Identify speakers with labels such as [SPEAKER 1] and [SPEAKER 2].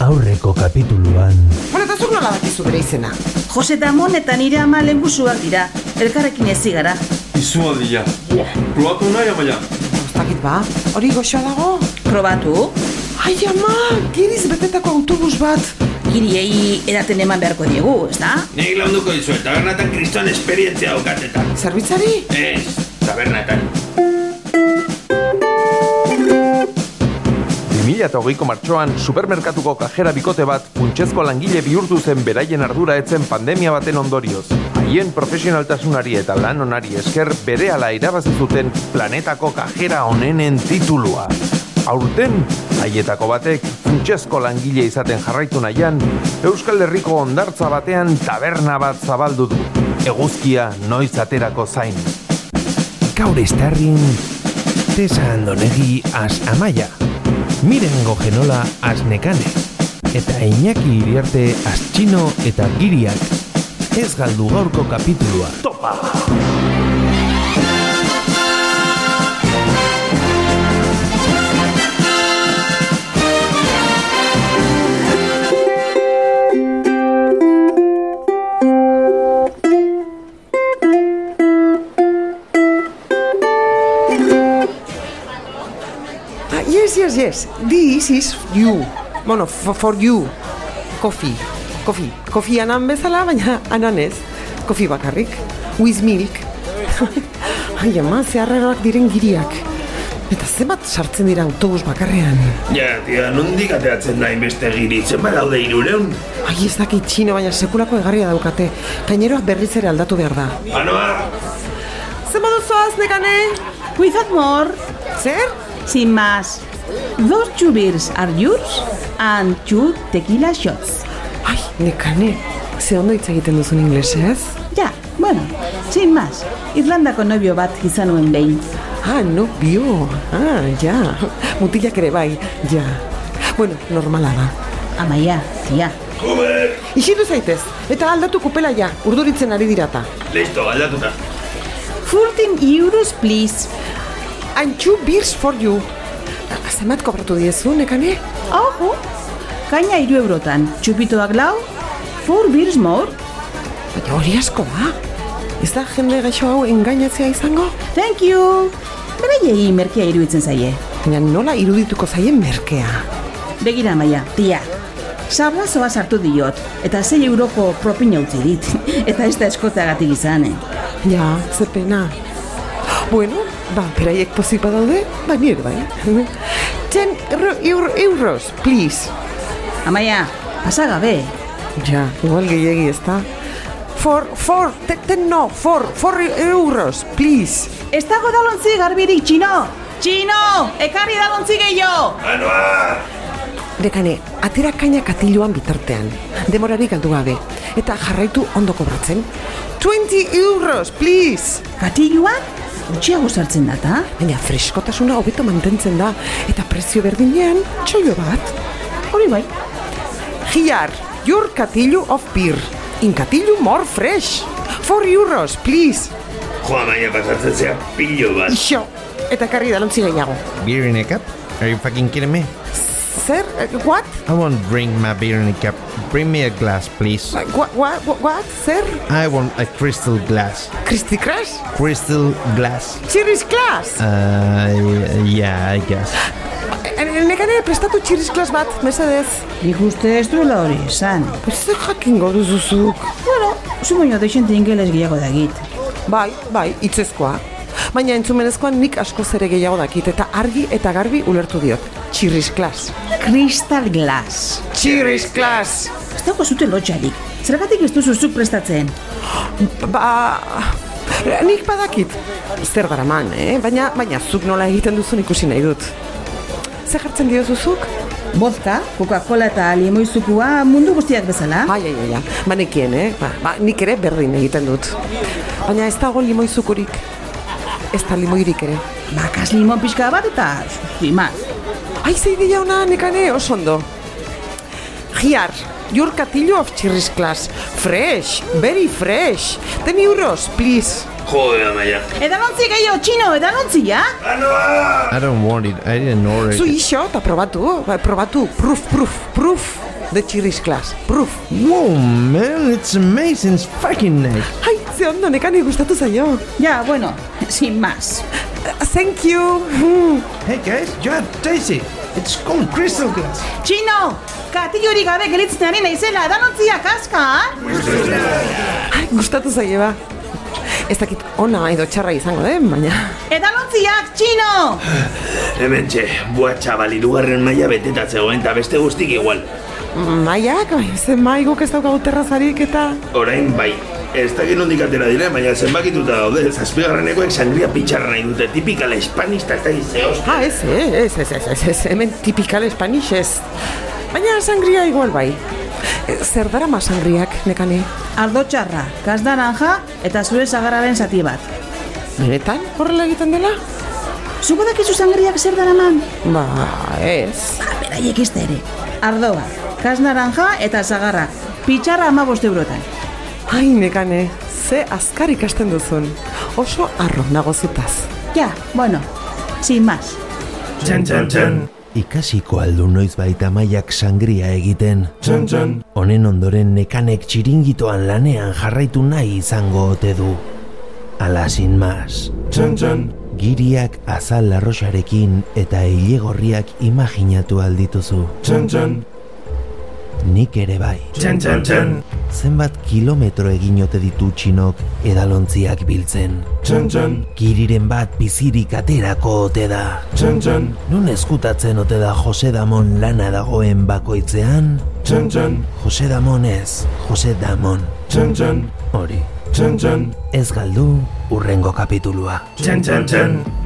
[SPEAKER 1] aurreko kapituluan.
[SPEAKER 2] Bueno, eta zuk nola bakizu bere izena.
[SPEAKER 3] Jose Damon eta nire ama lengusuak dira, elkarrekin ezi gara.
[SPEAKER 4] Izualdia. Buah, probatu nahi amaia.
[SPEAKER 2] Ez dakit ba, hori goxoa dago.
[SPEAKER 3] Probatu,
[SPEAKER 2] Ai, ama, giriz betetako autobus bat.
[SPEAKER 3] giriei edaten eman beharko diegu, ez da?
[SPEAKER 5] Nik launduko dizu, tabernetan kriston esperientzia daukatetan.
[SPEAKER 2] Zerbitzari?
[SPEAKER 5] Ez, tabernetan.
[SPEAKER 6] 2008ko martxoan supermerkatuko kajera bikote bat funtsezko langile bihurtu zen beraien ardura etzen pandemia baten ondorioz. Haien profesionaltasunari eta lan onari esker berehala irabazi zuten planetako kajera onenen titulua. Aurten, haietako batek funtsezko langile izaten jarraitu nahian, Euskal Herriko ondartza batean taberna bat zabaldu du. Eguzkia noiz aterako zain.
[SPEAKER 1] Gaur estarrin, Tesa Andonegi as Amaia, Miren Gogenola as Nekane, eta Iñaki Iriarte as Txino eta Giriak. Ez galdu gaurko kapitulua.
[SPEAKER 2] Ah, yes, yes, yes. This is you. Bueno, for, for you. Coffee. Coffee. Coffee anan bezala, baina anan ez. Coffee bakarrik. With milk. Ai, ama, zeharreroak diren giriak. Eta zenbat sartzen dira autobus bakarrean.
[SPEAKER 5] Ja, tia, nondik ateratzen da inbeste giri, zenba daude irureun?
[SPEAKER 2] Ai, ez dakit txino, baina sekulako egarria daukate. Kaineroak berriz ere aldatu behar da.
[SPEAKER 5] Anoa,
[SPEAKER 2] Zenbat duzoaz, nekane?
[SPEAKER 3] Without more,
[SPEAKER 2] Zer?
[SPEAKER 3] sin más. Those two beers are yours and two tequila shots.
[SPEAKER 2] Ai, nekane. Ze ondo hitz egiten duzun inglesez?
[SPEAKER 3] Ja, bueno, sin más. Irlandako nobio bat izan nuen behin.
[SPEAKER 2] Ah, no bio. Ah, ja. Mutilak ere bai, ja. Bueno, normala da.
[SPEAKER 3] Amaia, tia.
[SPEAKER 5] Uber!
[SPEAKER 2] Ixitu zaitez, eta aldatu kupela ja, urduritzen ari dirata.
[SPEAKER 5] Listo, aldatuta.
[SPEAKER 3] 14 euros, please.
[SPEAKER 2] And two beers for you. Ah, Zenbat kobratu diezu, nekane?
[SPEAKER 3] Ojo, kaina iru eurotan, txupitoak lau, four beers more.
[SPEAKER 2] Baina hori asko da. Ez da jende gaixo hau engainatzea izango?
[SPEAKER 3] Thank you. Beraiei merkea iruditzen zaie.
[SPEAKER 2] Baina nola irudituko zaien merkea.
[SPEAKER 3] Begira maia, tia. Sablazoa sartu diot, eta 6 euroko propina utzi dit, eta ez da eskoteagatik izan. eh.
[SPEAKER 2] Ja, ze pena. Bueno, ba, beraiek pozik badaude, ba, nire bai. Ten euro, euro, euros, please.
[SPEAKER 3] Amaia, pasagabe.
[SPEAKER 2] Ja, igual gehiegi ez da. For, for, te, te, no, for, for euros, please.
[SPEAKER 3] Ez dago dalontzi garbirik, txino! Txino! Ekarri dalontzi gehiago!
[SPEAKER 5] Anoa!
[SPEAKER 2] Dekane, atera kainak katiluan bitartean, demorarik galdu gabe, eta jarraitu ondo kobratzen. 20 euros, please!
[SPEAKER 3] Katilua? Gutxiago sartzen da, ta?
[SPEAKER 2] Baina freskotasuna hobeto mantentzen da, eta prezio berdinean, txoio bat.
[SPEAKER 3] Hori bai.
[SPEAKER 2] Giar, your katilu of beer. In katilu more fresh. 4 euros, please.
[SPEAKER 5] Joa maia pasatzen zea, pilo bat.
[SPEAKER 2] Ixo, eta karri dalontzi gehiago.
[SPEAKER 7] Beer in a cup? Are you fucking kidding me?
[SPEAKER 2] Zer, eh, what?
[SPEAKER 7] I won't drink my beer in a cup. Bring me a glass, please.
[SPEAKER 2] What, what, what, what? Zer?
[SPEAKER 7] I want a crystal glass.
[SPEAKER 2] Kristi Crash?
[SPEAKER 7] Crystal glass.
[SPEAKER 2] Txirriz klas!
[SPEAKER 7] Uh, yeah, I guess.
[SPEAKER 2] Eh, Nekane prestatu txirriz klas bat, mesedez.
[SPEAKER 3] Nik uste ez duela hori esan.
[SPEAKER 2] Zer jakingo duzuzuk?
[SPEAKER 3] Bueno, zu baino dexente ingeles gehiago dagit.
[SPEAKER 2] Bai, bai, itzezkoa. Baina entzumenezkoan nik asko zere gehiago dakit eta argi eta garbi ulertu diot. Txirriz klas.
[SPEAKER 3] Crystal Glass.
[SPEAKER 2] Txirriz klas!
[SPEAKER 3] Ez dago zute lotxarik. Zergatik ez duzu zuk prestatzen?
[SPEAKER 2] Ba... Nik badakit. Zer daraman, eh? Baina, baina zuk nola egiten duzun ikusi nahi dut. Zer jartzen diozuzuk?
[SPEAKER 3] Vodka, Coca-Cola eta limoizukua mundu guztiak bezala.
[SPEAKER 2] Ai, ai, ai, ai. Banekien, eh? Ba, ba, nik ere berdin egiten dut. Baina ez dago limoizukurik. Ez da limoirik ere.
[SPEAKER 3] Bakas limon pixka bat eta zimaz.
[SPEAKER 2] Ai, zei dira ona, nekane, oso ondo. Giar, your katillo of chirris class. Fresh, very fresh. Ten euros, please.
[SPEAKER 5] Jode amaia.
[SPEAKER 3] Edalontzi gehiago, txino, edalontzi, ja?
[SPEAKER 5] Anoa!
[SPEAKER 7] I don't want it. I didn't order
[SPEAKER 2] Zu
[SPEAKER 7] it.
[SPEAKER 2] iso, eta probatu, ba, probatu, proof, proof, proof. The Chirish Class. Proof.
[SPEAKER 7] Whoa, man, it's amazing. It's fucking nice.
[SPEAKER 2] Ai, ze ondo nekani gustatu zaio. Eh,
[SPEAKER 3] Ja, bueno, sin más.
[SPEAKER 2] Thank you. Mm.
[SPEAKER 7] Hey, guys, you have tasty. It's called crystal glass.
[SPEAKER 3] Txino, katilurik gabe gelitzen ari naizela, danontziak aska, ah?
[SPEAKER 2] Ai, gustatu zaie ba. Ez dakit ona edo txarra izango den, baina...
[SPEAKER 3] Edalontziak, txino!
[SPEAKER 5] Hemen txe, bua txabal irugarren maila beteta zegoen eta beste guztik igual.
[SPEAKER 2] Maiak, bai, ze maigok ez daukagu terrazarik eta...
[SPEAKER 5] Orain bai, ez dakit nondik atera dire, baina zenbakituta daude, zazpigarrenekoek sangria pitxarra nahi dute, tipikala hispanista ez dakit zehoz.
[SPEAKER 2] Ah, ez, eh, ez, ez, ez, ez, ez, hemen tipikal espanis ez. Baina sangria igual bai. Eh, Zer darama sangriak, nekane?
[SPEAKER 3] Ardo txarra, kas naranja eta zure sagarraren zati bat.
[SPEAKER 2] Benetan, horrela egiten dela?
[SPEAKER 3] Zuko dakizu sangriak zer daraman?
[SPEAKER 2] Ba, ez.
[SPEAKER 3] Ah, beraiek ez da ere. Ardoa, kas naranja eta sagarra, pitxarra ama eurotan.
[SPEAKER 2] Ai, nekane, ze azkar ikasten duzun. Oso arro nago zutaz.
[SPEAKER 3] Ja, bueno, sin más.
[SPEAKER 5] Txan, txan, txan.
[SPEAKER 8] Ikasiko aldu noiz baita maiak sangria egiten. Honen ondoren nekanek txiringitoan lanean jarraitu nahi izango ote du. Alasin mas. Giriak azal arroxarekin eta hilegorriak imaginatu aldituzu. Nik ere bai.
[SPEAKER 5] Txan, txan, txan.
[SPEAKER 8] Zenbat kilometro egin ote ditu txinok edalontziak biltzen. Giriren bat bizirik aterako ote da. Non eskutatzen ote da Jose Damon lana dagoen bakoitzean? Jose Damon ez, Jose Damon. Hori, ez galdu urrengo kapitulua.
[SPEAKER 5] Txan, txan, txan.